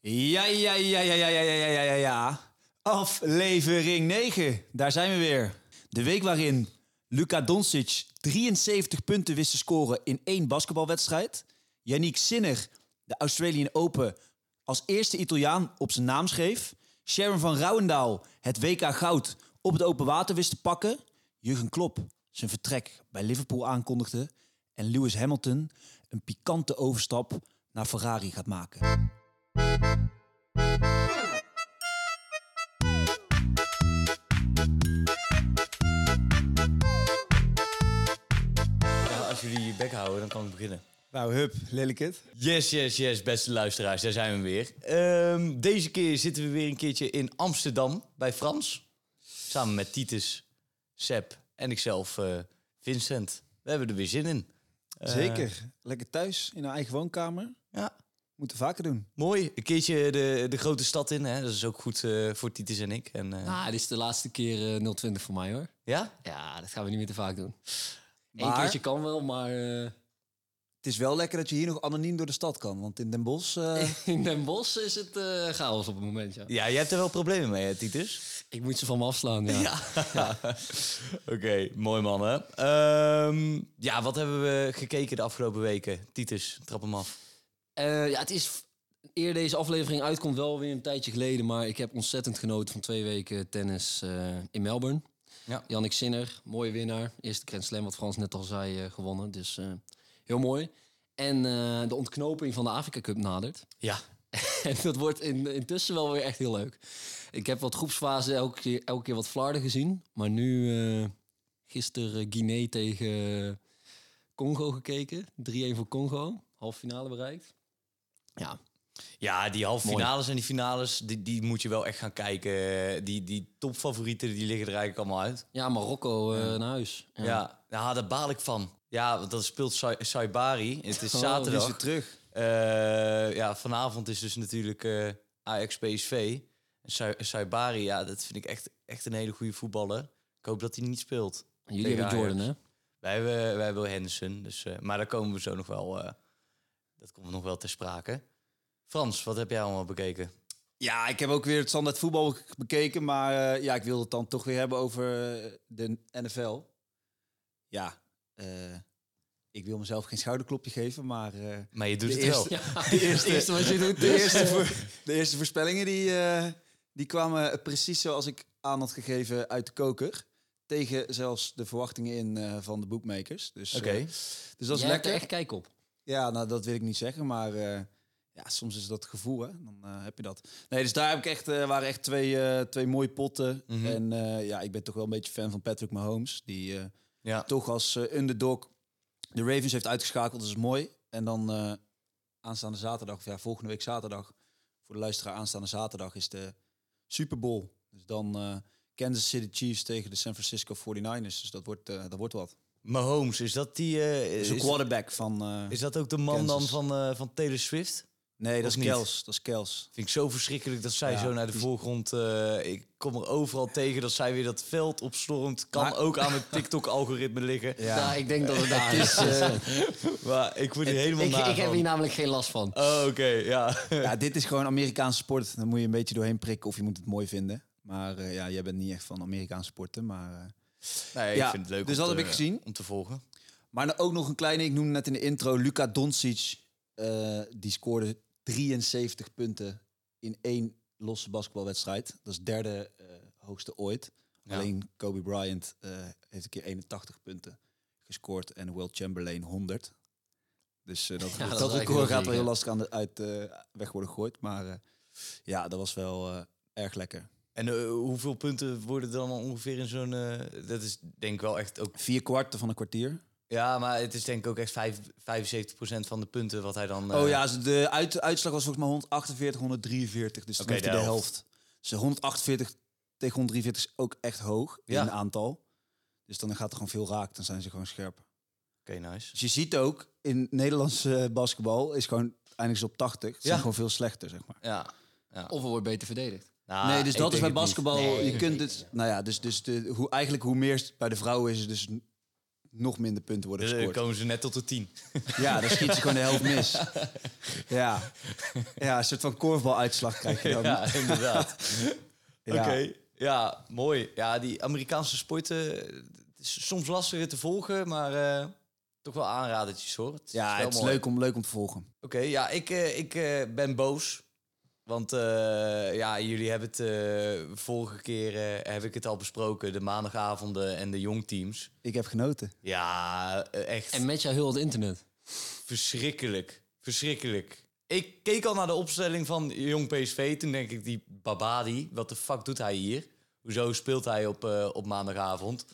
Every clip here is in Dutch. Ja, ja, ja, ja, ja, ja, ja, ja, ja, ja. Aflevering 9, daar zijn we weer. De week waarin Luka Doncic 73 punten wist te scoren in één basketbalwedstrijd. Yannick Sinner de Australian Open als eerste Italiaan op zijn naam schreef. Sharon van Rouwendaal het WK goud op het open water wist te pakken. Jurgen Klopp zijn vertrek bij Liverpool aankondigde. En Lewis Hamilton een pikante overstap naar Ferrari gaat maken. Ja, als jullie je bek houden, dan kan ik beginnen. Nou, hup, lelijk het. Yes, yes, yes, beste luisteraars, daar zijn we weer. Ehm, deze keer zitten we weer een keertje in Amsterdam bij Frans. Samen met Titus, Seb en ikzelf, eh, Vincent. We hebben er weer zin in. Eh, Zeker. Lekker thuis, in een eigen woonkamer. Ja, Moeten we vaker doen. mooi. Een keertje de, de grote stad in, hè. Dat is ook goed eh, voor Titus en ik. En, eh, Ah, dit is de laatste keer eh, 020 voor mij hoor. Ja? Ja, dat gaan we niet meer te vaak doen. Eén Maar- keertje kan wel, maar eh, Het is wel lekker dat je hier nog anoniem door de stad kan. Want in Den Bosch... eh, in Den Bosch is het eh, chaos op het moment, ja. Ja, jij hebt er wel problemen mee, hè, Titus? Ik moet ze van me afslaan, ja. Oké, mooi man, hè. Ehm, ja, wat hebben we gekeken de afgelopen weken? Titus, trap hem af. Eh, ja, het is... Eer deze aflevering uitkomt wel weer een tijdje geleden, maar ik heb ontzettend genoten van twee weken tennis eh, in Melbourne. Ja. Jannik Sinner, mooie winnaar. Eerste Grand Slam, wat Frans net al zei, eh, gewonnen. Dus eh, heel mooi. En eh, de ontknoping van de Afrika Cup nadert. Ja, En dat wordt in, intussen wel weer echt heel leuk. Ik heb wat groepsfasen elke keer, elke keer wat flarden gezien. Maar nu eh gisteren Guinea tegen Congo gekeken. 3-1 voor Congo. Half finale bereikt. Ja, Ja, die halve Mooi. finales en die finales, die, die moet je wel echt gaan kijken. Die, die topfavorieten, die liggen er eigenlijk allemaal uit. ja Marokko eh, naar huis. Ja, ja. nou, daar baal ik van. Ja, want dat speelt Sai- Saibari. Het is Oh, zaterdag. is weer terug. Eh, ja, vanavond is dus natuurlijk eh Ajax PSV. En Sai- Saibari, ja, dat vind ik echt, echt een hele goede voetballer. Ik hoop dat hij niet speelt. En jullie tegen hebben Jordan, Ajax. hè? Wij hebben, wij hebben Henderson, dus, eh, maar daar komen we zo nog wel, eh, dat komt nog wel ter sprake. Frans, wat heb jij allemaal bekeken? Ja, ik heb ook weer het standaard voetbal bekeken. Maar eh, ja, ik wilde het dan toch weer hebben over eh, de NFL. Ja, eh, ik wil mezelf geen schouderklopje geven, maar... eh, Maar je doet De het eerste- wel. Ja, de eerste, het eerste wat je doet de is... eerste, voor- de eerste voorspellingen die, eh, die kwamen precies zoals ik aan had gegeven uit de koker. Tegen zelfs de verwachtingen in eh, van de bookmakers. Dus, Oké. eh, dus dat is Jij hebt lekker. er echt kijk op. Ja, nou dat wil ik niet zeggen, maar eh, ja, soms is dat het gevoel, hè? Dan eh, heb je dat. Nee, dus daar heb ik echt, eh, waren echt twee, eh, twee mooie potten. Mhm. En eh, ja, ik ben toch wel een beetje fan van Patrick Mahomes. Die eh, Ja. toch als eh, underdog de Ravens heeft uitgeschakeld. Dat is mooi. En dan eh, aanstaande zaterdag, of ja, volgende week zaterdag, voor de luisteraar aanstaande zaterdag is de Super Bowl. Dus dan eh, Kansas City Chiefs tegen de San Francisco 49ers. Dus dat wordt, eh, dat wordt wat. Mahomes, is dat die... eh, Dus is, een quarterback van... eh, is dat ook de man Kansas. dan van, eh, van Taylor Swift? nee, dat of is niet? Kels. Dat is Kels. Vind ik zo verschrikkelijk dat zij Ja, zo naar de die- voorgrond... eh, ik kom er overal tegen dat zij weer dat veld opstormt. Kan Maar- ook aan het TikTok-algoritme liggen. Ja. ik denk dat het daar is. eh, Maar ik word hier helemaal ik, naar ik heb hier namelijk geen last van. Oh, oké, ja. Ja, dit is gewoon Amerikaanse sport. Dan moet je een beetje doorheen prikken of je moet het mooi vinden. Maar eh, ja, jij bent niet echt van Amerikaanse sporten. Maar, eh, Nee, ik Ja, vind het leuk dus om dat te- heb ik gezien. om te volgen. maar dan ook nog een kleine, ik noemde net in de intro, Luka Doncic. eh, die scoorde 73 punten in één losse basketbalwedstrijd. Dat is derde eh, hoogste ooit. Ja. Alleen Kobe Bryant eh, heeft een keer 81 punten gescoord en Will Chamberlain 100. Dus eh, dat, Ja, dat, dat is eigenlijk record heel gaat ziek, wel heel hè? lastig aan de, uit, eh, weg worden gegooid. Maar eh, ja, dat was wel eh, erg lekker. En eh, hoeveel punten worden dan ongeveer in zo'n... eh, dat is denk ik wel echt ook... Vier kwarten van een kwartier. Ja, maar het is denk ik ook echt vijf, 75% van de punten wat hij dan... eh, Oh ja, ze- de uit- uitslag was volgens mij 148, 143. Dus toen Oké, heeft hij de de helft. Dus 148 tegen 143 is ook echt hoog Ja. in aantal. Dus dan gaat er gewoon veel raak. Dan zijn ze gewoon scherp. Oké, nice. Dus je ziet ook, in Nederlandse eh, basketbal is gewoon eindigen ze op 80. Ze zijn Ja. gewoon veel slechter, zeg maar. Ja. ja. Of er wordt beter verdedigd. Nou, nee, dus ik dat is denk bij het niet. basketbal. Nee, je ik kunt weet het. Nou ja, dus, dus de, hoe, eigenlijk hoe meer bij de vrouwen is het dus nog minder punten worden Dan gescoord. komen ze net tot de tien. Ja, dan schiet je gewoon de helft mis. Ja, ja een soort van korfbaluitslag krijg je dan. Ja. Ja, inderdaad. Oké. Ja, mooi. Ja, die Amerikaanse sporten eh, het is soms lastiger te volgen, maar eh, toch wel aanradertjes hoor. Ja, wel het is mooi. leuk om, leuk om te volgen. Oké, ja, ik, eh, ik eh, ben boos. Want eh, ja, jullie hebben het eh, vorige keer eh, heb ik het al besproken, de maandagavonden en de jongteams. Ik heb genoten. Ja, eh, echt En met jou heel het internet. verschrikkelijk. Verschrikkelijk. Ik keek al naar de opstelling van Jong PSV. Toen denk ik, die Babadi, wat de fuck doet hij hier? Hoezo speelt hij op, eh, op maandagavond?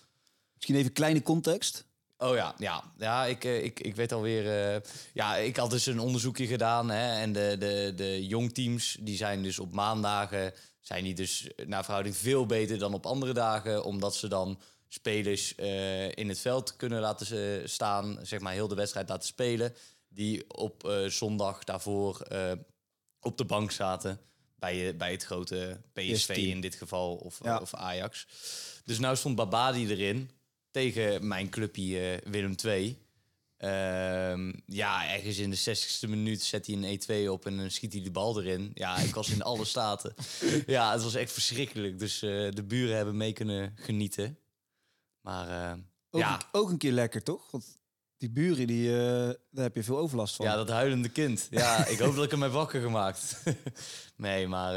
Misschien even kleine context. Oh ja, ja. ja ik, eh, ik, ik weet alweer... eh, ja, ik had dus een onderzoekje gedaan. Hè, en de, de, de jongteams, die zijn dus op maandagen... zijn die dus naar verhouding veel beter dan op andere dagen. Omdat ze dan spelers eh, in het veld kunnen laten eh, staan. Zeg maar heel de wedstrijd laten spelen. Die op eh, zondag daarvoor eh, op de bank zaten. Bij, je- bij het grote PSV Eerste team. in dit geval, of, Ja. of Ajax. Dus nou stond Babadi erin tegen mijn clubje eh, Willem II. Ehm, ja, ergens in de 60ste minuut zet hij een 1-2 op en dan schiet hij de bal erin. Ja, ik was in alle staten. Ja, het was echt verschrikkelijk. Dus eh, de buren hebben mee kunnen genieten. Maar eh, Ook, ja, een, ook een keer lekker, toch? Want die buren, die, eh, daar heb je veel overlast van. ja, dat huilende kind. Ja, ik hoop dat ik hem heb wakker gemaakt. nee, maar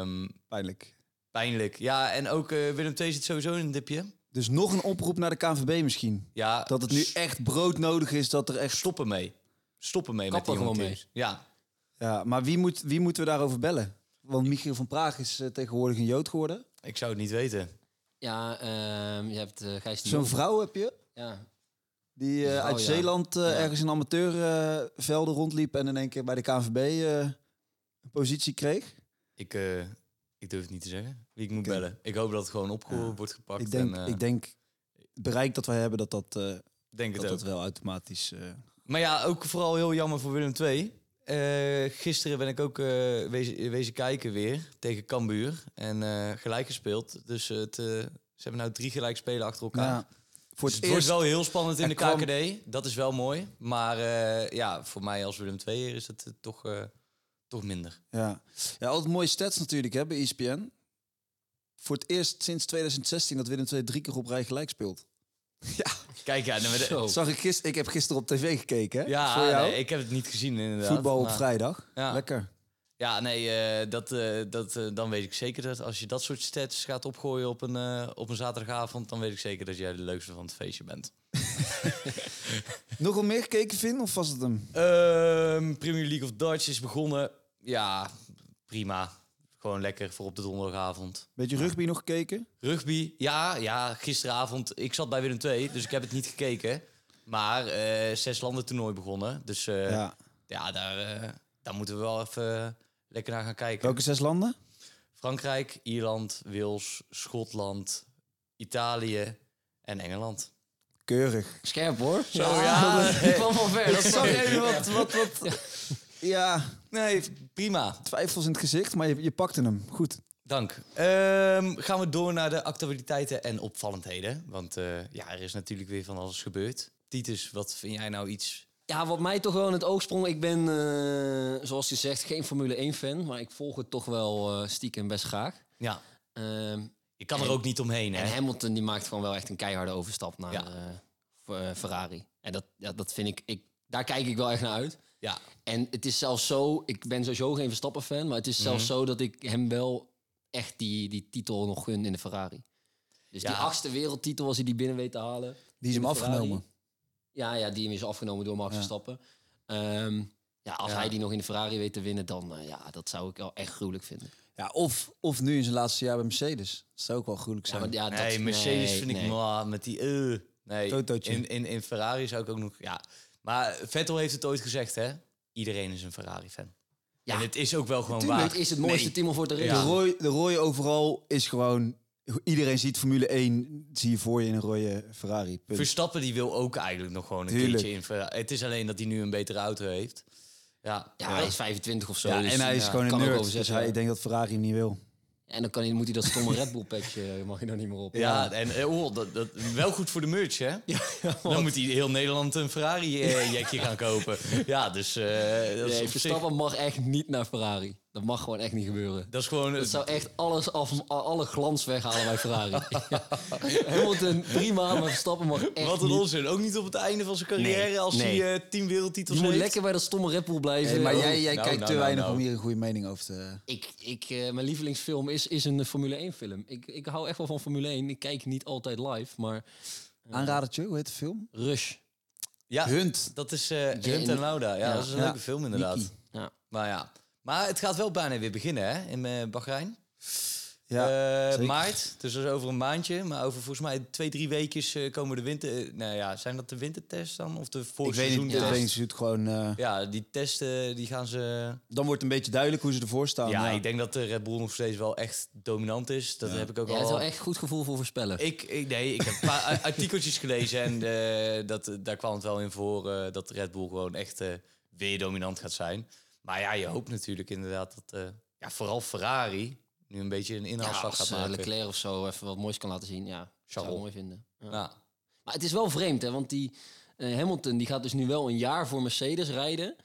ehm, Pijnlijk. pijnlijk. Ja, en ook eh, Willem II zit sowieso in een dipje. Dus nog een oproep naar de KNVB misschien. Ja, Dat het nu echt broodnodig is dat er echt... stoppen mee. Stoppen mee Kap met er die gewoon jongteams. Ja, Ja, maar wie, moet, wie moeten we daarover bellen? Want Michiel van Praag is eh, tegenwoordig een Jood geworden. ik zou het niet weten. Ja, ehm, je hebt eh Gijs de Zo'n Jong. vrouw heb je, Ja. die eh, Een vrouw, uit ja. Zeeland eh, Ja. ergens in amateurvelden rondliep... en in één keer bij de KNVB eh, een positie kreeg. Ik, eh, ik durf het niet te zeggen wie ik moet Oké. bellen. Ik hoop dat het gewoon opgehoord wordt gepakt. Ik denk, en, eh, ik denk het bereik dat wij hebben, dat dat, eh, denk dat, het ook. dat wel automatisch... eh, Maar ja, ook vooral heel jammer voor Willem II. Eh, gisteren ben ik ook eh, wezen, wezen kijken weer tegen Cambuur. En eh, gelijk gespeeld. Dus eh, het, eh, ze hebben nou drie gelijk spelen achter elkaar. ja, voor het Dus het wordt eerst... wel heel spannend in er de kwam- KKD. Dat is wel mooi. Maar eh, ja, voor mij als Willem II is het eh, toch, eh, toch minder. Ja. ja, altijd mooie stats natuurlijk hè, bij E ESPN. Voor het eerst sinds 2016 dat Willem II drie keer op rij gelijk speelt. Kijk, ja, nou, maar de- Zo. Zag ik, gister, ik heb gisteren op tv gekeken, hè? ja voor jou. nee, ik heb het niet gezien inderdaad. Voetbal op maar- vrijdag. Ja. Lekker. Ja, nee, eh, dat, eh, dat, eh, dan weet ik zeker dat als je dat soort stats gaat opgooien op een, eh, op een zaterdagavond, dan weet ik zeker dat jij de leukste van het feestje bent. Nogal meer gekeken, Vin, of was het hem? Ehm, Premier League of Dutch is begonnen. Ja, prima. Gewoon lekker voor op de donderdagavond. Beetje rugby nog gekeken? Rugby, ja, ja, gisteravond. Ik zat bij Willem II, dus ik heb het niet gekeken. Maar eh, zes landen toernooi begonnen. Dus eh, ja, ja. daar, eh, daar moeten we wel even lekker naar gaan kijken. Welke zes landen? Frankrijk, Ierland, Wales, Schotland, Italië en Engeland. Keurig. Scherp hoor. Zo ja. Die kwam wel ver. Dat Zag zag jij nu je. wat, wat, wat... Ja, Nee, prima. twijfels in het gezicht, maar je, je pakte hem. Goed. Dank. Ehm, gaan we door naar de actualiteiten en opvallendheden. Want eh, ja, er is natuurlijk weer van alles gebeurd. Titus, wat vind jij nou iets? Ja, wat mij toch wel in het oog sprong. Ik ben, eh, zoals je zegt, geen Formule 1 fan. Maar ik volg het toch wel eh, stiekem best graag. Ja, Ehm, je kan er ook niet omheen, En hè? Hamilton die maakt gewoon wel echt een keiharde overstap naar Ja. eh, F- eh, Ferrari. En dat, ja, dat vind ik, ik, daar kijk ik wel echt naar uit. Ja, En het is zelfs zo, ik ben sowieso geen Verstappen-fan, maar het is zelfs zo dat ik hem wel echt die, die titel nog gun in de Ferrari. Dus die Ja. achtste wereldtitel, als hij die binnen weet te halen. Die is in hem de Ferrari. afgenomen. Ja, ja, die hem is afgenomen door Max Ja. Verstappen. Ehm, ja, als Ja. hij die nog in de Ferrari weet te winnen, dan eh, ja, dat zou ik wel echt gruwelijk vinden. Ja, of, of nu in zijn laatste jaar bij Mercedes. Dat zou ook wel gruwelijk Ja, zijn. maar ja, Ah, dat, nee, Mercedes nee, vind ik nee. maar met die eh. nee, Totootje. in, in, in Ferrari zou ik ook nog ja. Maar Vettel heeft het ooit gezegd, hè? Iedereen is een Ferrari fan. Ja. En het is ook wel gewoon Tuurlijk waar. is het mooiste Nee. team om voor te Ja. De, racen. rooi, de rooi overal is gewoon... Iedereen ziet Formule 1, zie je voor je in een rode Ferrari. Punt. Verstappen die wil ook eigenlijk nog gewoon een Tuurlijk. keertje in Ferrari. Het is alleen dat hij nu een betere auto heeft. Ja, Ja, hij is 25 of zo. ja, dus en hij is ja, gewoon een kan ook nerd. over zes Dus hij, jaar. ik denk dat Ferrari hem niet wil. En dan kan hij, moet hij dat stomme Red Bull patchje, mag je dan niet meer op. Ja, en eh, oh, dat, dat, wel goed voor de merch, hè? Dan moet hij heel Nederland een Ferrari-jekje gaan kopen. Ja, dus eh, dat, is Nee, op zich, Verstappen mag echt niet naar Ferrari. Dat mag gewoon echt niet gebeuren. dat is gewoon... Dat zou echt alles af, alle glans weghalen bij Ferrari. Hamilton, prima, maar Verstappen mag echt wat een niet. onzin. Ook niet op het einde van zijn carrière Nee, als nee. hij eh tien wereldtitels Je moet heeft. lekker bij dat stomme Red Bull blijven. Hey, maar Oh, jij, jij nou, kijkt te nou, nou, weinig nou. om hier een goede mening over te... Ik, ik, eh, mijn lievelingsfilm is, is een eh, Formule 1 film. Ik, ik hou echt wel van Formule 1. Ik kijk niet altijd live, maar Aanradertje, hoe heet de film? Rush. Ja, Hunt. dat is eh Hunt Jane- en Lauda. Ja, Ja. dat is een Ja. leuke film inderdaad. Mickey. Ja. Maar ja. Maar het gaat wel bijna weer beginnen, hè? In eh, Bahrein. Eh, zeker. maart, dus dat is over een maandje. Maar over volgens mij twee, drie weken eh, komen de winter... eh, nou ja, zijn dat de wintertests dan? Of de ik weet niet, voorseizoentest? ik weet niet, ze doet gewoon... eh, Ja, die testen die gaan ze... Dan wordt een beetje duidelijk hoe ze ervoor staan. ja, ik denk dat de Red Bull nog steeds wel echt dominant is. Dat heb ik ook Je al... hebt wel echt goed gevoel voor voorspellen. Ik, ik, nee, ik heb een paar a- artikeltjes gelezen en eh, dat, daar kwam het wel in voor eh, dat Red Bull gewoon echt eh, weer dominant gaat zijn. Maar ja, je hoopt natuurlijk inderdaad dat eh, ja, vooral Ferrari nu een beetje een ja, inhaalslag als gaat eh, maken. Leclerc of zo even wat moois kan laten zien. Ja, zou ik Charles. mooi vinden. Ja. Ja. Maar het is wel vreemd, hè? Want die eh, Hamilton die gaat dus nu wel een jaar voor Mercedes rijden.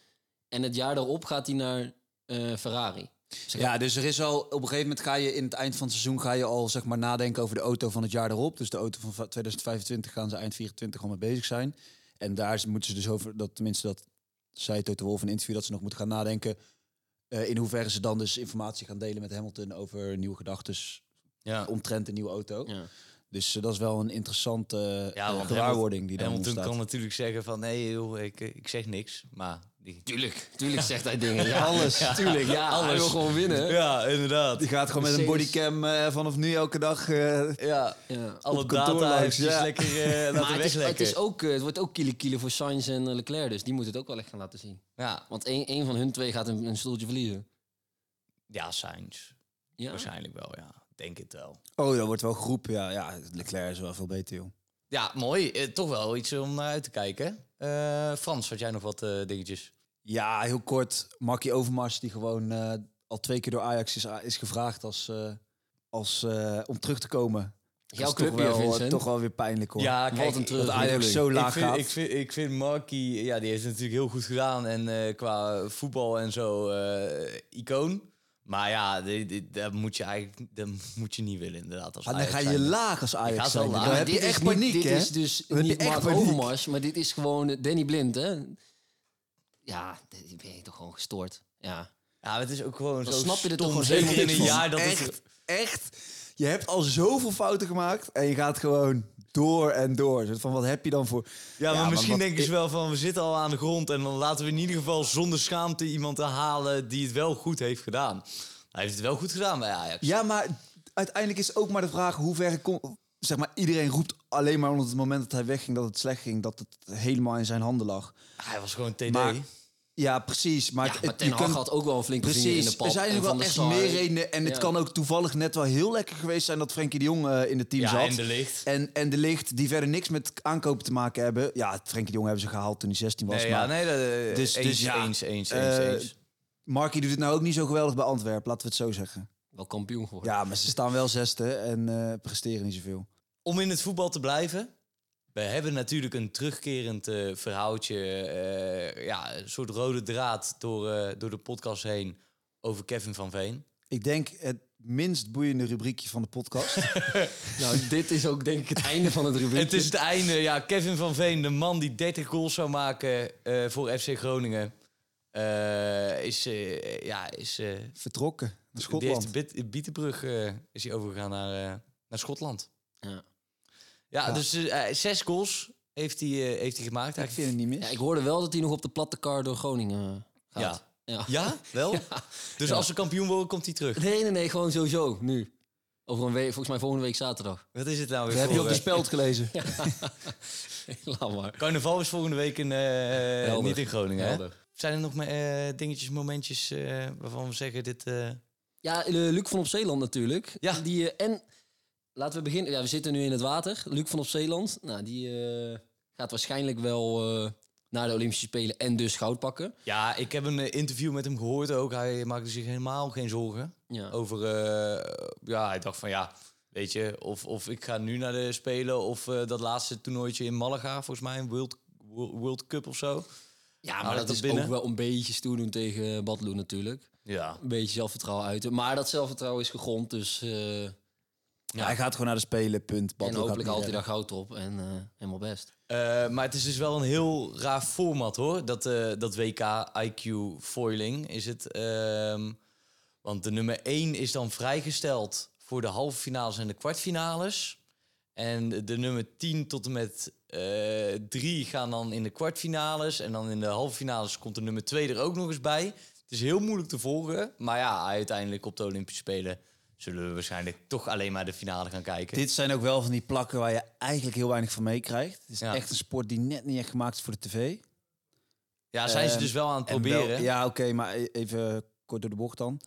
En het jaar daarop gaat hij naar eh, Ferrari. Ja, dus er is al op een gegeven moment ga je in het eind van het seizoen ga je al zeg maar nadenken over de auto van het jaar erop. Dus de auto van va- 2025 gaan ze eind 24 al mee bezig zijn. En daar is- moeten ze dus over dat tenminste dat zei Toto Wolff in een interview dat ze nog moeten gaan nadenken eh, in hoeverre ze dan dus informatie gaan delen met Hamilton over nieuwe gedachten Ja. omtrent een nieuwe auto. Ja. Dus eh, dat is wel een interessante eh, Ja, want gewaarwording die dan Hamilton ontstaat. kan natuurlijk zeggen van nee joh, ik, eh, ik zeg niks, maar... Die... Tuurlijk, tuurlijk zegt hij dingen. Ja, alles. Tuurlijk, ja. Alles. Hij wil gewoon winnen. Ja. Ja, inderdaad. Die gaat gewoon met een Mercedes. bodycam eh, vanaf nu elke dag. eh, Ja, alle kantoor data langs, eventjes ja. lekker eh dus Maar laten het, is, het, weglekken. is ook, eh, het wordt ook kiele kiele voor Sainz en eh, Leclerc. Dus die moeten het ook wel echt gaan laten zien. Ja, Want één één van hun twee gaat een, een stoeltje verliezen. ja Sainz. Ja? Waarschijnlijk wel, ja. Denk het wel. Oh, dat wordt wel geroepen. Ja, ja, Leclerc is wel veel beter, joh. Ja, mooi. Eh, toch wel iets om naar uit te kijken. Eh, Frans, had jij nog wat eh, dingetjes? Ja, heel kort. Markie Overmars, die gewoon eh, al twee keer door Ajax is, is gevraagd als, eh, als, eh, om terug te komen. Jouw Als club toch weer, wel, eh, Vincent. toch wel weer pijnlijk, hoor. Ja, kijk, een terug- dat Ajax zo laag ik vind, gaat. ik vind, ik vind Markie, ja, die heeft het natuurlijk heel goed gedaan. En eh, qua voetbal en zo, eh, icoon. Maar ja, dit- dit- dat moet je eigenlijk dat moet je niet willen, inderdaad. Als Ah, dan Ajax ga je zijnde. laag als gaat Ajax wel zijn. Dan laag. Maar heb je Nou, dit is echt niet- paniek, Dit hè? is dus Dan heb je niet echt Mark paniek. Overmars, maar dit is gewoon eh, Danny Blind, hè? Ja, dit ben je toch gewoon gestoord. Ja. Ja, maar het is ook gewoon Dan zo snap je er stom, toch gewoon zeker helemaal in niks een van. jaar dat echt, het... echt. Je hebt al zoveel fouten gemaakt en je gaat gewoon door en door. Zo Van wat heb je dan voor... Ja, maar maar misschien wat- denken ze wel van, we zitten al aan de grond... en dan laten we in ieder geval zonder schaamte iemand halen... die het wel goed heeft gedaan. Hij heeft het wel goed gedaan bij Ajax. Dus- Ja, maar uiteindelijk is ook maar de vraag hoe ver ik kom. Zeg maar, iedereen roept alleen maar omdat het moment dat hij wegging dat het slecht ging, dat het helemaal in zijn handen lag. Hij was gewoon TD. Maar ja, precies. Maar, Ja, het- maar het- Ten je Hag kunt- had ook wel een flinke vinger in de Precies, pap. er zijn en ook Van wel der echt Sar. meer redenen. En het Ja. kan ook toevallig net wel heel lekker geweest zijn dat Frenkie de Jong eh, in het team Ja, zat. en De Ligt. En, en de licht, die verder niks met aankopen te maken hebben. Ja, Frenkie de Jong hebben ze gehaald toen hij 16 was. Nee, maar ja, nee, dat, eh, Dus- eens, dus ja, eens, eens, eens, eh, eens. Markie doet het nou ook niet zo geweldig bij Antwerpen, laten we het zo zeggen. Wel kampioen geworden. Ja, maar ze staan wel zesde en eh, presteren niet zoveel. Om in het voetbal te blijven. We hebben natuurlijk een terugkerend eh, verhaaltje. eh, ja, een soort rode draad door, eh, door de podcast heen over Kevin van Veen. Ik denk het minst boeiende rubriekje van de podcast. Nou, dit is ook denk ik het einde van het rubriekje. Het is het einde. Ja, Kevin van Veen, de man die 30 goals zou maken eh, voor FC Groningen. eh, is, eh, ja, is, eh, Vertrokken naar die heeft Schotland. de Bit- Bietenbrug eh, is hij overgegaan naar, eh, naar Schotland. Ja. Ja, Ja. dus eh, eh, zes goals heeft hij, eh, heeft hij gemaakt. Ik vind het niet Ja, mis. ik hoorde wel dat hij nog op de platte kar door Groningen eh, gaat. Ja. Ja, wel? Dus als ze kampioen worden, komt hij terug. Nee, nee, nee, gewoon sowieso, nu. Over een week, volgens mij volgende week zaterdag. Wat is het nou weer Dat heb je voor... op de eh, speld gelezen. Laat maar. Carnaval is volgende week in, eh, Helder. niet in Groningen, hè? Helder. Zijn er nog maar, eh, dingetjes, momentjes eh, waarvan we zeggen dit... eh, Ja, eh, Luc van op Zeeland natuurlijk. Ja. Die, eh, en laten we beginnen. Ja, we zitten nu in het water. Luc van op Zeeland, nou, die eh, gaat waarschijnlijk wel eh, na de Olympische Spelen en dus goud pakken. Ja, ik heb een eh, interview met hem gehoord ook. Hij maakte zich helemaal geen zorgen Ja. Oh. over... eh, ja, hij dacht van ja, weet je, of, of ik ga nu naar de Spelen... of eh, dat laatste toernooitje in Malaga, volgens mij, een World, World Cup of zo. Ja, Haal maar ik dat dat is binnen? ook wel een beetje stoer doen tegen Badloe natuurlijk. Ja, Een beetje zelfvertrouwen uiten. Maar dat zelfvertrouwen is gegrond, dus... eh, Ja, hij gaat gewoon naar de spelen, punt. Baddoel en gaat hopelijk niet haalt hij daar redden. goud op en eh, helemaal best. Eh, maar het is dus wel een heel raar format hoor. Dat, eh, dat WK IQ foiling is het. Ehm, want de nummer 1 is dan vrijgesteld voor de halve finales en de kwartfinales. En de nummer 10 tot en met eh 3 gaan dan in de kwartfinales. En dan in de halve finales komt de nummer 2 er ook nog eens bij. Het is heel moeilijk te volgen. Maar ja, uiteindelijk op de Olympische Spelen zullen we waarschijnlijk toch alleen maar de finale gaan kijken. Dit zijn ook wel van die plakken waar je eigenlijk heel weinig van meekrijgt. Het is Ja. echt een sport die net niet echt gemaakt is voor de tv. ja, zijn ze Ehm, dus wel aan het En proberen. wel- ja, oké, maar e- even kort door de bocht dan.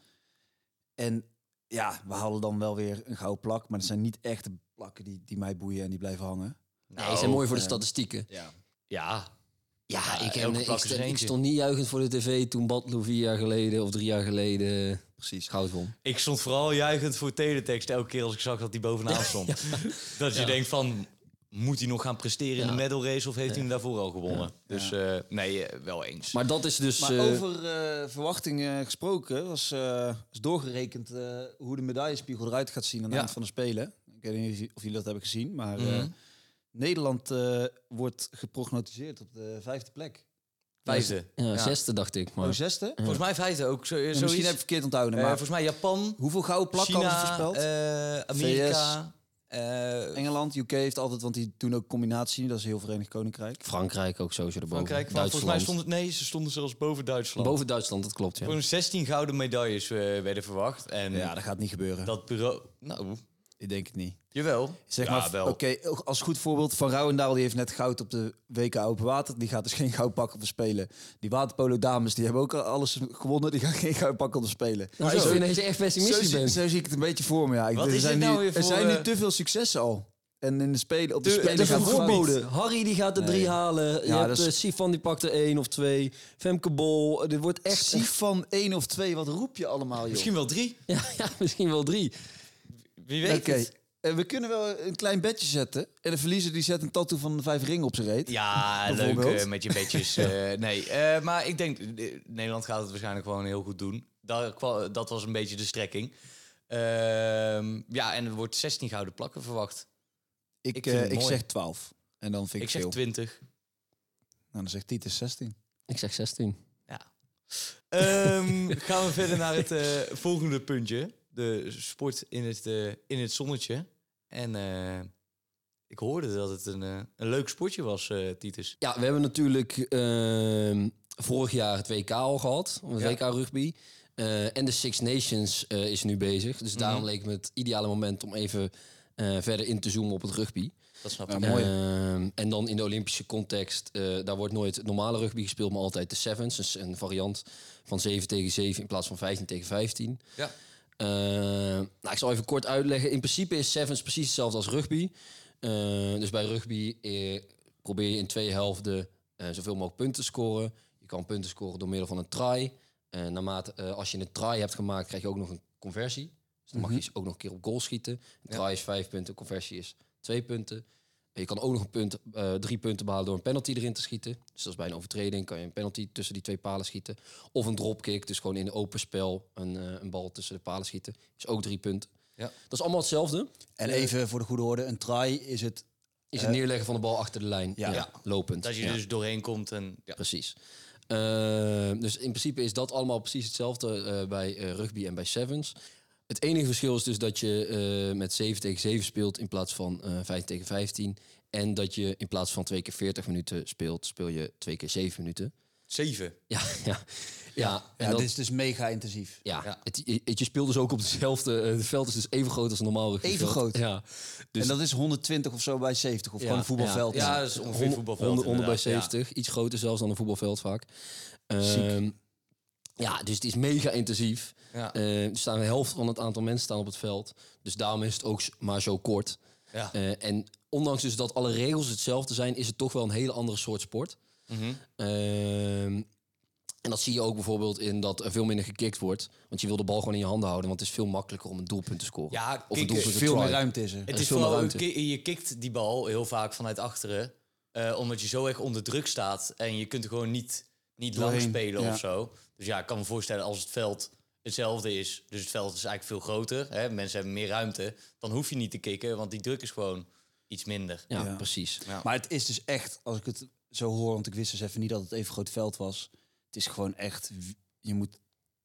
En ja, we halen dan wel weer een gouden plak. Maar dat zijn niet echt de plakken die, die mij boeien en die blijven hangen. Nou, Nee, ze zijn mooi voor de eh, statistieken. Ja. Ja, Ja, Ja, ik, Ah, elke heb, ik, plak is st- er ik eentje. stond niet juichend voor de tv toen Badloe vier jaar geleden of drie jaar geleden Precies. goud won. Ik stond vooral juichend voor teletext elke keer als ik zag dat hij bovenaan stond. Dat je denkt van, moet hij nog gaan presteren in Ja. de medal race of heeft hij hem daarvoor al gewonnen? Dus eh, nee, eh, wel eens. Maar dat is dus... Maar eh, over eh, verwachtingen gesproken, was, eh, is doorgerekend eh, hoe de medaillespiegel eruit gaat zien aan het Ja. Mhm. eind van de Spelen. Ik weet niet of jullie- of jullie dat hebben gezien, maar eh, Nederland eh, wordt geprognotiseerd op de vijfde plek. vijfde. ja, Ja. zesde dacht ik, maar... Oh, zesde? En Volgens mij vijfde ook. Zo, zoiets. misschien heb ik verkeerd onthouden, Eh, maar volgens mij Japan, hoeveel gouden plakken hadden ze China, voorspeld? eh, Amerika. eh, Engeland, UK heeft altijd, want die doen ook combinatie, dat is heel Verenigd Koninkrijk. Frankrijk ook sowieso erboven. Frankrijk. Maar Duitsland. volgens mij stonden, nee, ze stonden zelfs boven Duitsland. Boven Duitsland, dat klopt, ja. Gewoon 16 gouden medailles eh, werden verwacht. En Ja, dat gaat niet gebeuren. dat bureau... Nou, Ik denk het niet. jawel. Zeg Ja, maar, oké, als goed voorbeeld, Van Rouwendaal die heeft net goud op de WK Open Water. Die gaat dus geen goud pakken op de Spelen. Die waterpolo dames, die hebben ook al alles gewonnen. Die gaan geen goud pakken op de Spelen. Nou, ik Zo- vind dat je echt zo, pessimistisch zie, bent. zo zie ik het een beetje voor me, ja. Ik- Wat er is zijn dit nou nu, weer Er voor, zijn nu eh, te veel successen al. En in de Spelen, op de, De- Spelen de gaat het gewoon verboden. niet. Harry die gaat er drie halen. Je Ja, hebt dat is- eh, Sifan die pakt er één of twee. Femke Bol. eh, Dit wordt echt... Echt van één of twee, wat roep je allemaal, joh? Misschien wel drie. Ja, ja, misschien wel drie. Wie weet Oké, het. eh, we kunnen wel een klein bedje zetten. En de verliezer die zet een tattoo van de vijf ringen op zijn reet. Ja, leuk Bijvoorbeeld. eh, met je bedjes. eh, nee, Eh, maar ik denk, eh, Nederland gaat het waarschijnlijk gewoon heel goed doen. Daar, kwa- dat was een beetje de strekking. Ehm, ja, en er wordt 16 gouden plakken verwacht. Ik, Ik ik, vind het ik mooi. zeg 12. En dan vind Ik, ik, zeg veel. 20. Nou, dan zegt Titus 16. Ik zeg 16. Ehm, gaan we verder naar het eh, volgende puntje. De sport in het, eh, in het zonnetje. En eh, ik hoorde dat het een, eh, een leuk sportje was, eh, Titus. Ja, we hebben natuurlijk ehm, vorig jaar het WK al gehad. Het Ja. WK rugby. Eh, en de Six Nations eh, is nu bezig. Dus daarom leek me het ideale moment om even eh, verder in te zoomen op het rugby. Dat snap Ja, ik. mooi. Ehm, en dan in de Olympische context, eh, daar wordt nooit normale rugby gespeeld, maar altijd de sevens. Dus een variant van 7 tegen 7 in plaats van 15 tegen 15. Ja. Eh, nou, ik zal even kort uitleggen. In principe is sevens precies hetzelfde als rugby. Eh, dus bij rugby eh, probeer je in twee helften eh, zoveel mogelijk punten te scoren. Je kan punten scoren door middel van een try. Eh, naarmate, eh, als je een try hebt gemaakt, krijg je ook nog een conversie. Dus dan mag je ook nog een keer op goal schieten. Een try is vijf punten, conversie is twee punten. En je kan ook nog een punt, eh, drie punten behalen door een penalty erin te schieten. Dus als bij een overtreding kan je een penalty tussen die twee palen schieten. Of een dropkick, dus gewoon in open spel een, eh, een bal tussen de palen schieten. Is ook drie punten. Ja. Dat is allemaal hetzelfde. En even voor de goede orde, een try is het... Is het neerleggen van de bal achter de lijn. ja. Eh, Ja, lopend. Dat je Ja. dus doorheen komt en... Ja. Precies. Eh, dus in principe is dat allemaal precies hetzelfde eh, bij eh, rugby en bij sevens. Het enige verschil is dus dat je eh, met 7 tegen 7 speelt in plaats van eh 5 tegen 15. En dat je in plaats van 2 keer 40 minuten speelt, speel je 2 keer 7 minuten. Zeven. Ja, ja. Ja, en Ja, dat- dit is dus mega intensief. ja. ja. Het, je, het- je speelt dus ook op dezelfde... eh, het veld is dus even groot als een normaal rugby. Even groot? Ja. Dus en dat is 120 of zo bij 70, of Ja, gewoon een voetbalveld. Ja, Ja, dat is ongeveer Onder- voetbalveld. Onder, onder bij inderdaad, ja. 70. Iets groter zelfs dan een voetbalveld vaak. Ehm, ja, dus het is mega intensief. Ja. Eh, er staan de helft van het aantal mensen staan op het veld. Dus daarom is het ook s- maar zo kort. Ja. Eh, en ondanks dus dat alle regels hetzelfde zijn... is het toch wel een hele andere soort sport. Mhm. Ehm, en dat zie je ook bijvoorbeeld in dat er veel minder gekikt wordt. Want je wil de bal gewoon in je handen houden. Want het is veel makkelijker om een doelpunt te scoren. Ja, of kicken een doelpunt te Veel meer tryen. ruimte is er. Het is is veel meer vooral, een ruimte. ki- je kikt die bal heel vaak vanuit achteren. eh, omdat je zo erg onder druk staat. En je kunt er gewoon niet, niet lang Doorheen, spelen ja. of zo. Dus ja, ik kan me voorstellen als het veld hetzelfde is. Dus het veld is eigenlijk veel groter. Hè, mensen hebben meer ruimte. Dan hoef je niet te kicken, want die druk is gewoon iets minder. Ja, Ja. precies. Ja. Maar het is dus echt, als ik het zo hoor, want ik wist dus even niet dat het even groot veld was. Het is gewoon echt, je moet,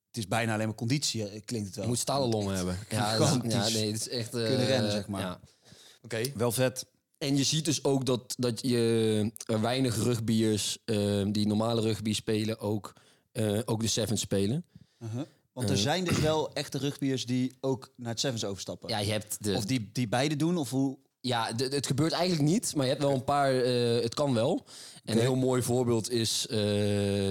het is bijna alleen maar conditie, eh, klinkt het wel. Je moet stalen longen hebben. Ja, ja, gigantisch nee, het is echt... eh, kunnen rennen, zeg maar. ja. Oké. Wel vet. En je ziet dus ook dat, dat je er weinig rugbiers eh, die normale rugby spelen ook, eh, ook de sevens spelen. Want er Eh. zijn dus wel echte rugbiers die ook naar het Sevens overstappen. Ja, je hebt de, Of die, die beide doen, of hoe... Ja, d- het gebeurt eigenlijk niet, maar je hebt wel een paar. eh, het kan wel. En een heel mooi voorbeeld is eh,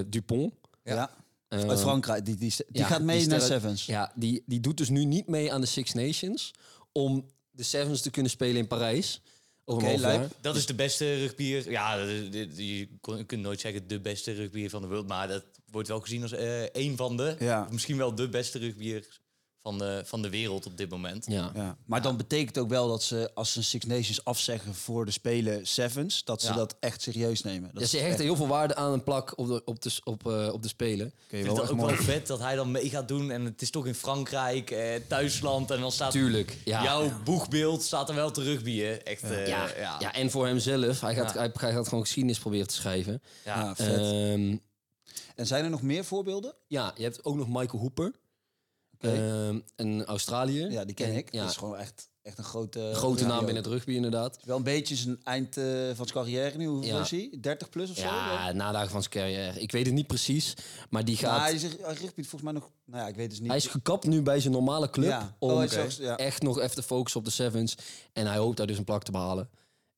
Dupont. Ja. Eh, Uit Frankrijk, die, die, die ja, gaat mee die naar stellen- Sevens. Ja, die, die doet dus nu niet mee aan de Six Nations om de Sevens te kunnen spelen in Parijs. Over Oké, een half lijp. jaar. Dat is de beste rugbier. Ja, de- de- de- je kon- je kunt nooit zeggen de beste rugbier van de wereld. Maar dat wordt wel gezien als eh een van de. Ja. of Misschien wel de beste rugbier van de, van de wereld op dit moment. Ja. Ja, maar dan betekent ook wel dat ze, als ze Six Nations afzeggen voor de Spelen Sevens, dat ze Ja. dat echt serieus nemen. Dat Dus ze hecht heel veel waarde aan een plak op de, op de, s- op, eh, op de Spelen. Ik vind dat ook wel vet dat hij dan mee gaat doen. En het is toch in Frankrijk, eh, thuisland. En dan staat Tuurlijk. Ja. jouw boegbeeld staat er wel te rugby, hè? Echt, eh, ja. ja. ja. ja, en voor hemzelf. Hij gaat, hij, hij gaat gewoon geschiedenis proberen te schrijven. Ja, vet. Ehm, en zijn er nog meer voorbeelden? ja, je hebt ook nog Michael Hooper. Oké. Ehm, een Australiër. Ja, die ken En- ik. Ja, Dat is gewoon echt, echt een grote... grote ja, naam joh. binnen het rugby inderdaad. Wel een beetje zijn eind eh, van zijn carrière nu. Hoeveel Ja. is hij? 30 plus of zo? Ja, nadagen van zijn carrière. Ik weet het niet precies, maar die Maar gaat... Nou, hij hij, is er- hij rugbyt volgens mij nog... Nou ja, ik weet dus niet. is gekapt nu bij zijn normale club Ja. om Oh, hij is zelfs- ja. echt nog even te focussen op de sevens. En hij hoopt daar dus een plak te behalen.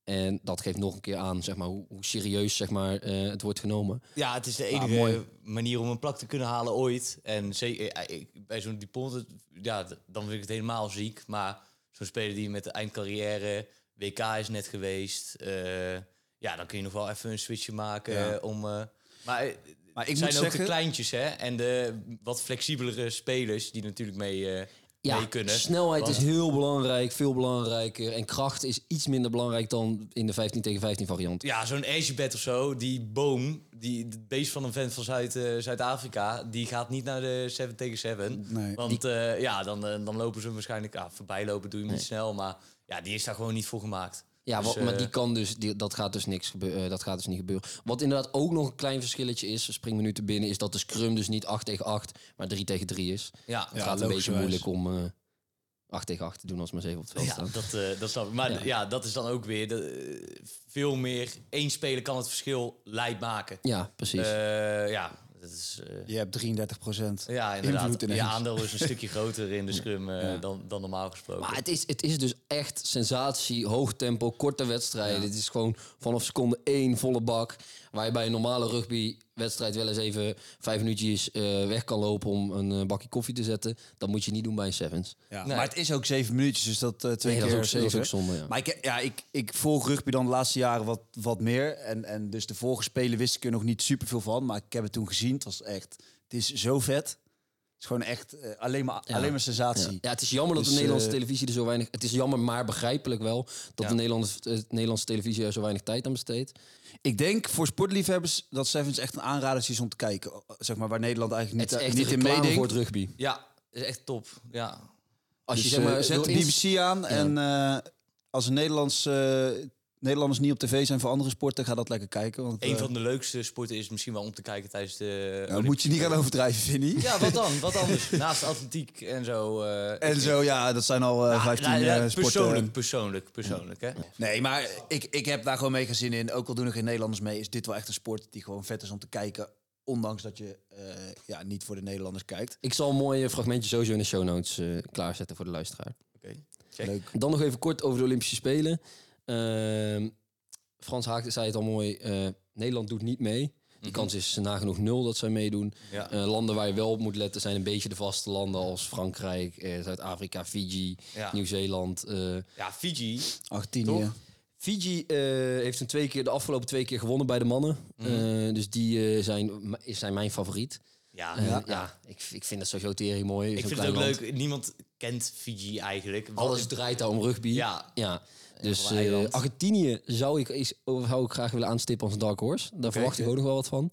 En dat geeft nog een keer aan zeg maar, hoe, hoe serieus zeg maar, eh, het wordt genomen. het is de enige mooi. manier om een plak te kunnen halen ooit. En zeker eh, ik- bij zo'n Dupont, het- ja, d- dan vind ik het helemaal ziek. Maar zo'n speler die met de eindcarrière, WK is net geweest. eh, ja, dan kun je nog wel even een switchje maken Ja. eh, om... eh, maar eh, maar ik het moet zijn ook zeggen... de kleintjes, hè? En de wat flexibelere spelers die natuurlijk mee, eh, mee Ja, kunnen. snelheid Want- is heel belangrijk, veel belangrijker. En kracht is iets minder belangrijk dan in de 15 tegen 15 variant. Ja, zo'n Asiabed of zo, die boom, die het beest van een vent van Zuid, eh, Zuid-Afrika, die gaat niet naar de 7 tegen 7. Nee. Want eh, ja, dan, eh, dan lopen ze hem waarschijnlijk, ah, voorbij lopen doe je hem niet snel, maar ja, die is daar gewoon niet voor gemaakt. Ja, Dus, wat, maar eh, die kan dus, die, dat gaat dus niks gebeuren. dat gaat dus niet gebeuren. Wat inderdaad ook nog een klein verschilletje is, springminuten binnen, is dat de scrum dus niet 8 tegen 8, maar 3 tegen 3 is. Ja, Het gaat een beetje logischerwijs. moeilijk om eh 8 tegen 8 te doen als maar 7 op het veld ja staan. dat, eh, dat snap ik. Maar ja. dat is dan ook weer de, eh, veel meer. Eén speler kan het verschil leid maken. Ja, precies. Eh, ja, dat is. eh, Je hebt 33 procent. ja, invloed inderdaad. ineens. Je aandeel is een stukje groter in de scrum eh, dan, dan normaal gesproken. maar het is, het is dus echt sensatie, hoog tempo, korte wedstrijden. Het is gewoon vanaf seconde 1 volle bak. Waar je bij een normale rugbywedstrijd wel eens even vijf minuutjes eh, weg kan lopen om een eh, bakje koffie te zetten. Dat moet je niet doen bij een sevens. Nee. Maar het is ook zeven minuutjes, dus dat eh, twee Nee, dat keer is ook- dat is zeven. ook zonde, ja. Maar ik, ja, ik, ik volg rugby dan de laatste jaren wat, wat meer. En, en dus de vorige spelen wist ik er nog niet superveel van. Maar ik heb het toen gezien. Het was echt... Het is zo vet. Het is gewoon echt eh, alleen, maar, alleen maar sensatie. Ja, het is jammer dat Dus, de Nederlandse eh, televisie er zo weinig... Het is jammer, maar begrijpelijk wel... dat de Nederlandse, eh, Nederlandse televisie er zo weinig tijd aan besteedt. Ik denk voor sportliefhebbers dat Sevens echt een aanrader is om te kijken. eh, Zeg maar, waar Nederland eigenlijk Het niet, eh, is echt niet een in reclame meedenkt. voor het rugby. Ja, is echt top. Ja. Als Dus, je zeg maar, eh, wil zet de ins- BBC aan. En eh, als een Nederlands, eh, Nederlanders niet op tv zijn voor andere sporten, ga dat lekker kijken. Want, Een eh, van de leukste sporten is misschien wel om te kijken tijdens de. nou, moet je niet gaan overdrijven, Vinnie. Ja, wat dan? Wat anders? Naast atletiek en zo. eh, ik- En zo, ja, dat zijn al eh, Ah, 15 nou, ja, eh, sporten. Persoonlijk, persoonlijk, persoonlijk. Hè? Nee, maar ik, ik heb daar gewoon mega zin in. Ook al doen er geen Nederlanders mee, is dit wel echt een sport die gewoon vet is om te kijken. Ondanks dat je eh, ja, niet voor de Nederlanders kijkt. Ik zal een mooi eh, fragmentje sowieso in de show notes eh, klaarzetten voor de luisteraar. Oké. Dan nog even kort over de Olympische Spelen. Ehm, Frans Haak zei het al mooi, eh, Nederland doet niet mee. Die kans is nagenoeg nul dat zij meedoen. Mhm. Ja. Eh, landen waar je wel op moet letten zijn een beetje de vaste landen als Frankrijk, eh, Zuid-Afrika, Fiji, Ja. Nieuw-Zeeland. eh, Ja, Fiji. Argentinië. Toch? Fiji eh, heeft hem twee keer, de afgelopen twee keer gewonnen bij de mannen. Mhm. Eh, dus die eh, zijn, m- is- zijn mijn favoriet. Ja, Eh, ja, ik, ik vind dat sowieso tering mooi. ik zo'n vind het klein ook land. leuk. Niemand kent Fiji eigenlijk. Wat- Alles draait daar om rugby. Ja. ja. Dus Heel veel eh, eiland. Argentinië zou ik, is, zou ik graag willen aanstippen als een dark horse. Daar verwacht ik ook nog wel wat van.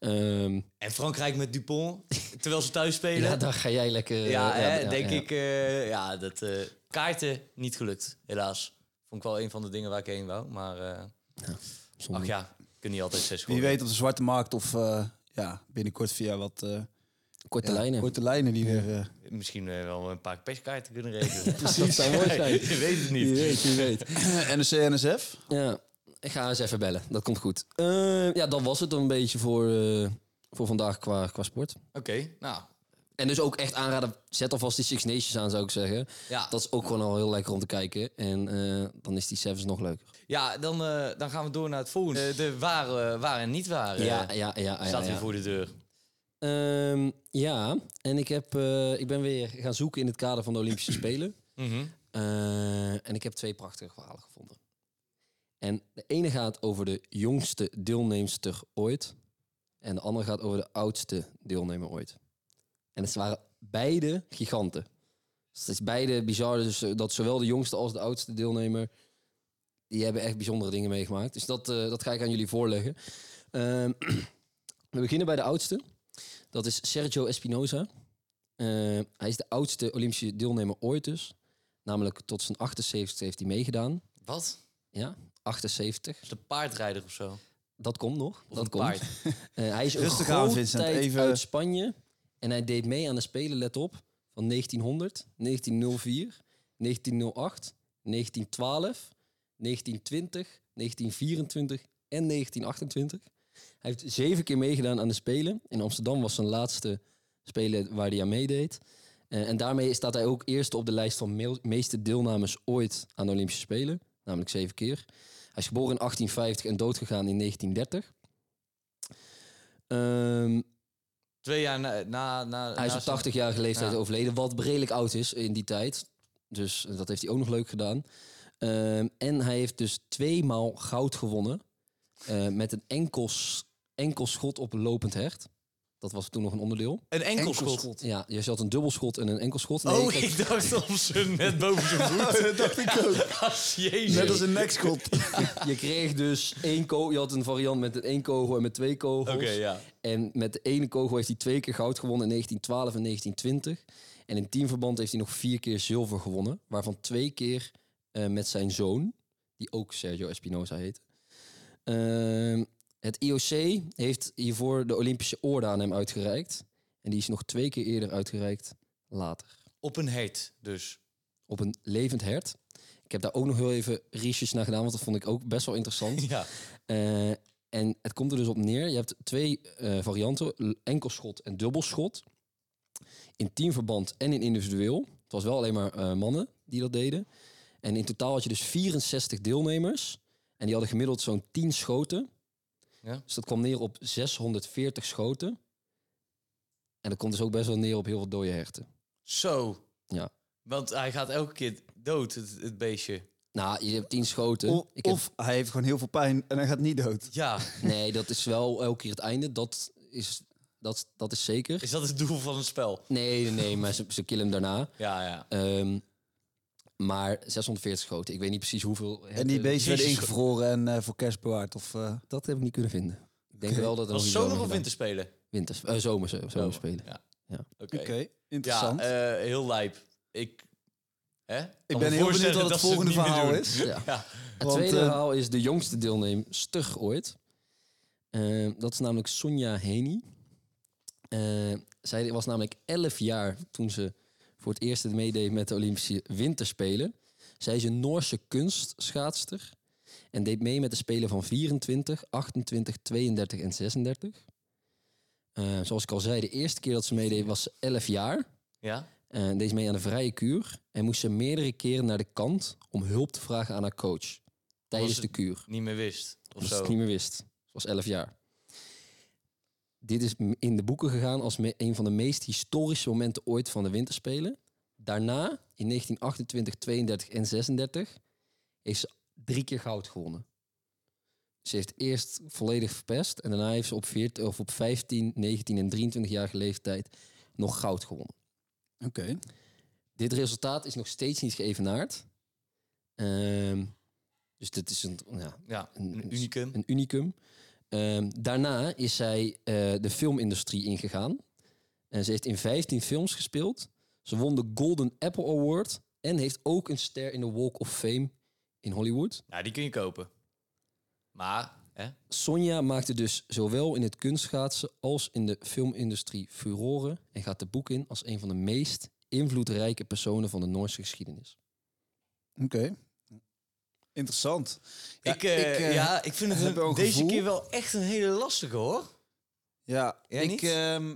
Ehm, En Frankrijk met Dupont, terwijl ze thuis spelen. ja, Ja, daar ga jij lekker... hè, Eh, ja, denk ja. ik. eh, ja, dat eh, kaarten niet gelukt, helaas. Vond ik wel een van de dingen waar ik heen wou. Maar eh, Zonde. ach ja, kun niet altijd zes Wie scoren. weet op de zwarte markt of eh, ja, binnenkort via wat eh, Korte ja, lijnen. korte lijnen die er. eh, Misschien eh, wel een paar perskaarten kunnen regelen. Dat zou mooi zijn. Je weet het Wie niet. weet, wie weet. NSC, NSF. Ja, ik ga eens even bellen. Dat komt goed. Eh, ja, dat was het dan een beetje voor, eh, voor vandaag qua, qua sport. Oké, nou. En dus ook echt aanraden, zet alvast die Six Nations aan, zou ik zeggen. Ja. Dat is ook gewoon al heel lekker om te kijken. En eh, dan is die Sevens nog leuker. Ja, dan, eh, dan gaan we door naar het volgende. Eh, de waar, eh, waar en niet waar eh, ja, ja, ja. ja, staat ja. weer voor de deur. Ehm, ja, en ik, heb, eh, ik ben weer gaan zoeken in het kader van de Olympische Spelen. Mhm. Eh, en ik heb twee prachtige verhalen gevonden. En de ene gaat over de jongste deelnemster ooit. En de andere gaat over de oudste deelnemer ooit. En het waren beide giganten. Dus het is beide bizar dus, eh, dat zowel de jongste als de oudste deelnemer... die hebben echt bijzondere dingen meegemaakt. Dus dat, eh, dat ga ik aan jullie voorleggen. Ehm, we beginnen bij de oudste. Dat is Sergio Espinoza. Eh, hij is de oudste Olympische deelnemer ooit dus. Namelijk tot zijn 78 heeft hij meegedaan. Wat? Ja, 78. Is de paardrijder of zo? Dat komt nog. Of dat een komt. paard? Eh, hij is een Rustig groot aan, Vincent. tijd Even- uit Spanje. En hij deed mee aan de Spelen, let op, van 1900, 1904, 1908, 1912, 1920, 1924 en 1928. Hij heeft zeven keer meegedaan aan de Spelen. In Amsterdam was zijn laatste Spelen waar hij aan meedeed. Eh, en daarmee staat hij ook eerste op de lijst van meel- meeste deelnames ooit aan de Olympische Spelen. Namelijk zeven keer. Hij is geboren in 1850 en doodgegaan in 1930. Ehm, Twee jaar na... na, na hij is na op zijn- 80-jarige leeftijd Ja. overleden, wat redelijk oud is in die tijd. Dus eh, dat heeft hij ook nog leuk gedaan. Ehm, en hij heeft dus tweemaal goud gewonnen eh, met een enkel, s- enkel schot op een lopend hert. Dat was toen nog een onderdeel. Een enkelschot. Ja, je had een dubbelschot en een enkelschot. Nee, Oh, kijk, ik dacht om ze net boven zijn voet. dat dacht ik ook. Jezus. Net als een nekschot. je kreeg dus één kogel. Je had een variant met een één kogel en met twee kogels. Oké, ja. En met de ene kogel heeft hij twee keer goud gewonnen in 1912 en 1920. En in teamverband heeft hij nog vier keer zilver gewonnen. Waarvan twee keer eh, met zijn zoon, die ook Sergio Espinosa heette. Ehm, het IOC heeft hiervoor de Olympische Orde aan hem uitgereikt. En die is nog twee keer eerder uitgereikt later. Op een hert, dus. Op een levend hert. Ik heb daar ook nog heel even research naar gedaan, want dat vond ik ook best wel interessant. Ja. Eh, en het komt er dus op neer. Je hebt twee eh, varianten, l- enkelschot en dubbelschot. In teamverband en in individueel. Het was wel alleen maar eh, mannen die dat deden. En in totaal had je dus 64 deelnemers. En die hadden gemiddeld zo'n 10 schoten. Ja. Dus dat kwam neer op 640 schoten. En dat komt dus ook best wel neer op heel veel dode herten. Zo. Ja. Want hij gaat elke keer dood, het, het beestje. Nou, je hebt 10 schoten. Of, Ik heb- of hij heeft gewoon heel veel pijn en hij gaat niet dood. Ja. Nee, dat is wel elke keer het einde. Dat is, dat, dat is zeker. Is dat het doel van het spel? Nee, nee, nee, maar ze, ze killen hem daarna. Ja, ja. Ehm, maar 640 schoten. Ik weet niet precies hoeveel. En die beesten werden Jezus. ingevroren en eh, voor kerst bewaard. Of, eh, Dat heb ik niet kunnen vinden. Ik denk wel dat het Was het zomer of winterspelen? Winter, eh, zomer, zomer, spelen. Ja. Ja. Oké. Oké, Ja, interessant. eh, heel lijp. Ik... Hè? ik ben heel benieuwd wat het volgende verhaal is. Ja. Ja. Het Want, tweede eh, verhaal is de jongste deelnemster ooit. Ehm, dat is namelijk Sonja Heni. Ehm, zij was namelijk 11 jaar toen ze voor het eerst meedeed met de Olympische Winterspelen. Zij is een Noorse kunstschaatster en deed mee met de Spelen van 24, 28, 32 en 36. Ehm, zoals ik al zei, de eerste keer dat ze meedeed was ze 11 jaar. Ja? Eh, En deze mee aan de vrije kuur. En moest ze meerdere keren naar de kant om hulp te vragen aan haar coach. Tijdens het de kuur. Niet meer wist. Of Omdat ze het zo. niet meer wist. Ze was 11 jaar. Dit is m- in de boeken gegaan als me- een van de meest historische momenten ooit van de Winterspelen. Daarna, in 1928, 32 en 36, heeft ze drie keer goud gewonnen. Ze heeft eerst volledig verpest en daarna heeft ze op, 14, of op 15, 19 en 23-jarige leeftijd nog goud gewonnen. eh, Oké. Dit resultaat is nog steeds niet geëvenaard. Ehm, dus dit is een, ja, Ja, een- een unicum. een unicum. Ehm, daarna is zij eh, de filmindustrie ingegaan. En ze heeft in 15 films gespeeld. Ze won de Golden Apple Award. En heeft ook een ster in de Walk of Fame in Hollywood. Nou, die kun je kopen. Maar, hè? Sonja maakte dus zowel in het kunstschaatsen als in de filmindustrie furoren. En gaat de boek in als een van de meest invloedrijke personen van de Noorse geschiedenis. Oké. Interessant. Ja, ik, eh, ik, eh, ja, ik vind het heb een- wel een deze gevoel. keer wel echt een hele lastige, hoor. Ja, Jij ik... niet? ehm,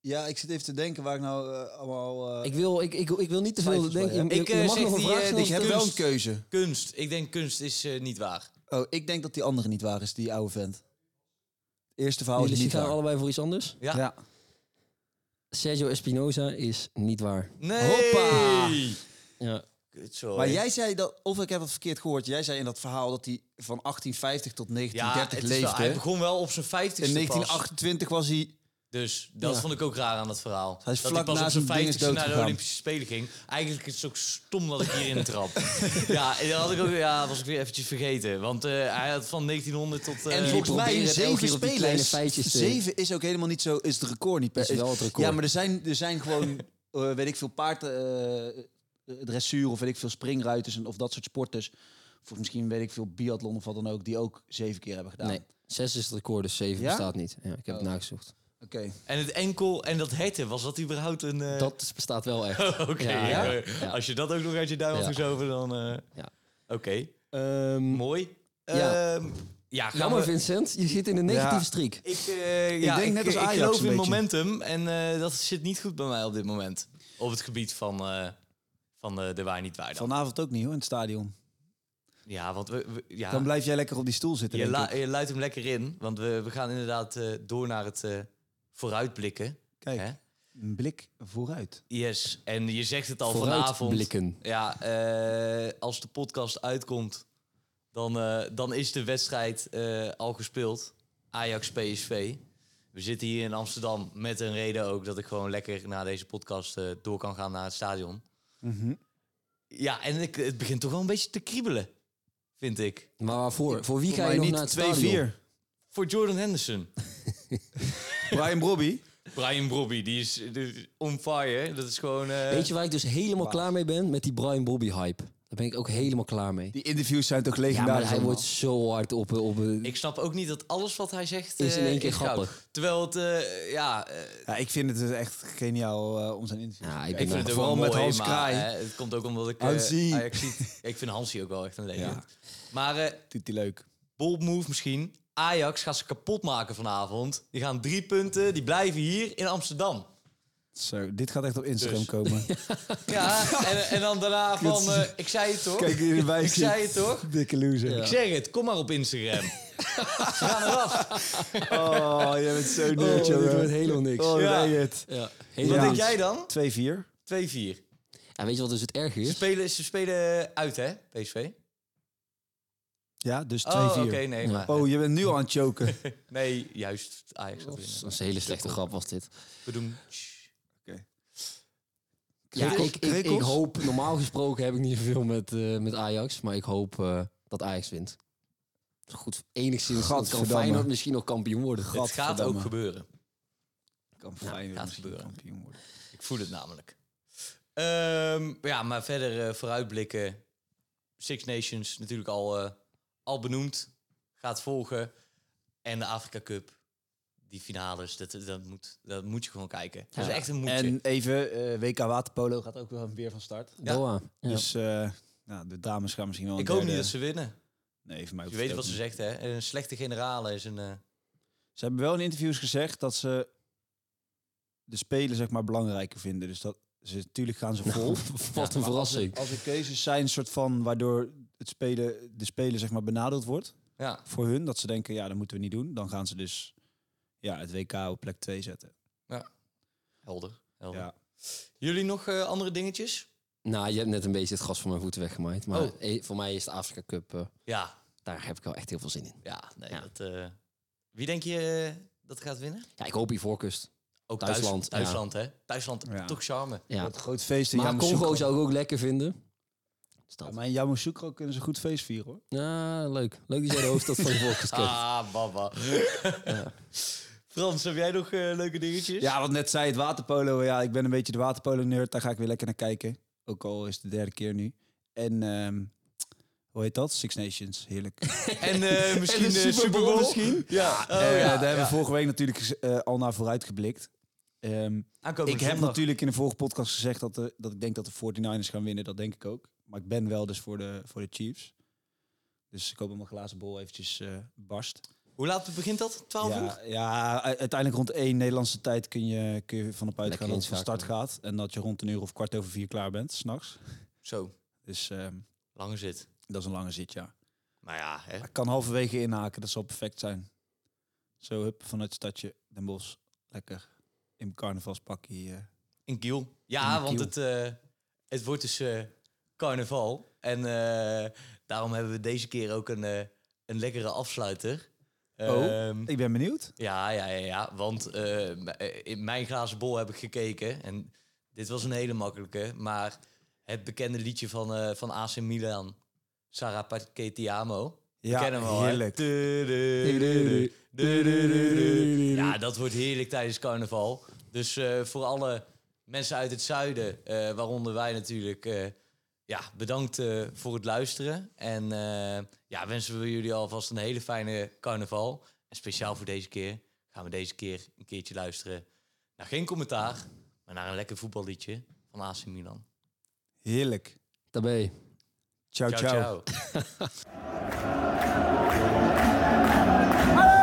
ja, ik zit even te denken waar ik nou eh, allemaal... eh, Ik wil, ik, ik, ik wil niet te veel Twijfels bij, denken. hè? Je, Ik, je eh, mag zeg nog een die, vraag eh, ik stellen. die heb kunst. wel een keuze. Kunst. Ik denk kunst is eh, niet waar. Oh, ik denk dat die andere niet waar is, die oude vent. Eerste verhaal Jullie Oh, is niet gaan waar. allebei voor iets anders. Ja. Ja. Sergio Espinoza is niet waar. Nee! Hoppa! Ja. Kut, sorry. Maar jij zei dat, of ik heb het verkeerd gehoord, jij zei in dat verhaal dat hij van 1850 tot ja, 1930 het is wel- leefde. hij begon wel op zijn 50ste in pas. 1928 was hij. Dus dat Ja. vond ik ook raar aan dat verhaal. Hij is dat vlak pas na op zijn zijn ding is 50ste naar de doodgegaan. Olympische Spelen ging. Eigenlijk is het ook stom dat ik hierin trap. ja, en dat had ik ook, ja, was ik weer eventjes vergeten. Want eh, hij had van 1900 tot... en eh, volgens volgens probeer mij mij het elke zeven zeven keer op die spelers- kleine spelers. feitjes te- Zeven is ook helemaal niet zo. Is het record niet per Is wel het record. Ja, maar er zijn, er zijn gewoon, eh, weet ik veel, paard, eh, dressuur of weet ik veel, springruiters en of dat soort sporters. Of misschien weet ik veel, biathlon of wat dan ook, die ook zeven keer hebben gedaan. Nee, 6 is het record, dus 7 Ja? bestaat niet. Ja, ik heb het nagezocht. Oké. En het enkel en dat herten, was dat überhaupt een... eh, Dat is- bestaat wel echt. Oké, Ja, ja. ja. Ja. als je dat ook nog uit je duim had Ja. gezogen, dan... eh, Ja. Oké, Ehm, mooi. Ja. Ehm, ja, gaan jammer, we- Vincent, je zit in een negatieve Ja. streak. Ik, eh, ja, denk ik, net als ik Ajax geloof een in beetje. momentum en eh, dat zit niet goed bij mij op dit moment. Op het gebied van, eh, van de, de waar niet waar dan. Vanavond ook niet hoor, in het stadion. Ja, want we, we- ja, Dan blijf jij lekker op die stoel zitten. je, eh, denk lu- ik. je luidt hem lekker in, want we, we gaan inderdaad eh, door naar het eh, vooruitblikken. Kijk, Hè? een blik vooruit. Yes, en je zegt het al vanavond. Vooruitblikken. Ja, eh, als de podcast uitkomt, dan, eh, dan is de wedstrijd eh, al gespeeld. Ajax-PSV. We zitten hier in Amsterdam met een reden ook dat ik gewoon lekker na deze podcast eh, door kan gaan naar het stadion. Mhm. Ja, en ik, het begint toch wel een beetje te kriebelen, vind ik. Maar waarvoor? Voor wie Volgens ga mij je nog niet naar het stadion? 2-4. Voor Jordan Henderson. Brian Brobby. Brian Brobby, die is eh, on fire. Dat is gewoon... eh, Weet je waar ik dus helemaal klaar mee ben? Met die Brian Bobby hype. Daar ben ik ook helemaal klaar mee. Die interviews zijn toch Ja, legendarisch. maar hij allemaal? wordt zo hard op... op Ik Oh, snap ook niet dat alles wat hij zegt... Is in eh, één keer goud. grappig. Terwijl het, eh, ja... eh, Ja, ik vind het dus echt geniaal eh, om zijn interview. ja, ik ik ben vind daar- het ook Vooral wel met mooi, Hans maar, Kraai. hè, het komt ook omdat ik... eh, Hansie. Ajaxiet- ik vind Hansie ook wel echt een legend. Maar eh Doet hij leuk. bold move misschien. Ajax gaat ze kapot maken vanavond. Die gaan drie punten. Die blijven hier in Amsterdam. Zo, dit gaat echt op Instagram Dus. komen. Ja, en, en dan daarna van... eh, ik zei het toch? Kijk, jullie ik wijzen. zei het toch? Dikke loser. Ik zeg het. Kom maar op Instagram. ze gaan eraf. Oh, jij bent zo Oh, nerd, dit jongen. wordt helemaal niks. Oh, Ja. nee, het. Ja, Wat helemaal Ja. denk niks. jij dan? 2-4. 2-4. En weet je wat dus het erg Ze is? spelen, ze spelen uit, hè? PSV. Ja, dus 2-4. Oh, oké. nee, maar... Oh, je bent nu aan het choken. Oké. Nee, juist. Ajax gaat winnen. Dat is een hele slechte grap was dit. Bedoem. Ja, Krekels? ik, ik, ik Krekels? hoop, normaal gesproken heb ik niet zoveel met, eh, met Ajax, maar ik hoop eh, dat Ajax wint. Goed, enigszins dan kan Gadverdamme. Feyenoord misschien nog kampioen worden. Het gaat ook Gadverdamme. gebeuren. Kan Feyenoord gaat misschien gebeuren. kampioen worden. Ik voel het namelijk. Ehm, ja, maar verder eh, vooruitblikken. Six Nations natuurlijk al, eh, al benoemd. Gaat volgen. En de Afrika Cup. Die finales, dat, dat, moet, dat moet je gewoon kijken. Dat is echt een moetje. En even, eh, WK Waterpolo gaat ook wel weer van start. Ja. Doha. Ja. Dus eh, nou, de dames gaan misschien wel ik een hoop niet derde- dat ze winnen. Nee, voor mij hoeft Je het weet ook wat ze niet. zegt, hè? Een slechte generale is een... eh, Ze hebben wel in interviews gezegd dat ze de spelen zeg maar belangrijker vinden. Dus dat ze natuurlijk gaan ze vol. Nou, Wat een Maar als er- verrassing. Als er keuzes zijn, soort van waardoor het spelen, de spelen zeg maar benadeeld wordt ja, voor hun, dat ze denken ja, dat moeten we niet doen. Dan gaan ze dus ja, het WK op plek 2 zetten. helder. helder. Ja. Jullie nog eh, andere dingetjes? Nou, je hebt net een beetje het gras van mijn voeten weggemaaid. Maar Oh. eh, voor mij is de Afrika Cup, eh, Ja, daar heb ik wel echt heel veel zin in. ja, nee, Ja. Dat, eh, wie denk je eh, dat gaat winnen? Ja, ik hoop Ivoorkust. Ook Duitsland, ja. Thuis, Duitsland, hè? Duitsland, Ja. toch charme. Ja. Wat een groot feest in Maar Congo Yamoussoukro. zou ik ook lekker vinden. Dus Ja, dat. maar in Yamoussoukro kunnen ze goed feest vieren, hoor. Ja, leuk. Leuk dat jij de hoofdstad van Ivoorkust kent. Ah, baba. Frans, heb jij nog eh, leuke dingetjes? Ja, wat net zei, het waterpolo. Ja, ik ben een beetje de waterpolo-nerd. Daar ga ik weer lekker naar kijken. Ook al is het de derde keer nu. En ehm, hoe heet dat? Six Nations. Heerlijk. En eh, misschien En de eh, Super Super Bowl Bowl? misschien? Oh, Ja. Eh, daar hebben we vorige week natuurlijk eh, al naar vooruit geblikt. Ehm, Aankomende ik heb zondag. natuurlijk in de vorige podcast gezegd dat, de, dat ik denk dat de 49ers gaan winnen. Dat denk ik ook. Maar ik ben wel dus voor de, voor de Chiefs. Dus ik hoop dat mijn glazen bol eventjes eh, barst. Hoe laat begint dat? 12 uur? Ja, ja, u- uiteindelijk rond 1 Nederlandse tijd kun je, kun je vanop uitgaan dat het van start inschakelen. gaat. En dat je rond een uur of kwart over vier klaar bent, s'nachts. Zo, Dus ehm, lang zit. dat is een lange zit, ja. Maar ja, hè? Ik kan halverwege inhaken, dat zal perfect zijn. Zo, hup, vanuit het stadje Den Bosch. Lekker in mijn carnavalspakje. eh. in Kiel. Ja, In want Kiel. Het, eh, het wordt dus eh, carnaval. En eh, daarom hebben we deze keer ook een, eh, een lekkere afsluiter. Oh. Ehm, Ik ben benieuwd. Ja, ja, ja, ja. Want eh, m- eh, in mijn glazen bol heb ik gekeken. En dit was een hele makkelijke. Maar het bekende liedje van, eh, van AC Milan. Sarah Paquetiamo. Ja, we kennen hem al, hè? heerlijk. Du-du-du-du, du-du-du-du-du. Ja, dat wordt heerlijk tijdens carnaval. Dus eh, voor alle mensen uit het zuiden, eh, waaronder wij natuurlijk... eh, ja, bedankt eh, voor het luisteren. En eh, ja, wensen we jullie alvast een hele fijne carnaval. En speciaal voor deze keer gaan we deze keer een keertje luisteren naar geen commentaar, maar naar een lekker voetballiedje van AC Milan. Heerlijk. Daarbij. Ciao, ciao. ciao. ciao. Allez,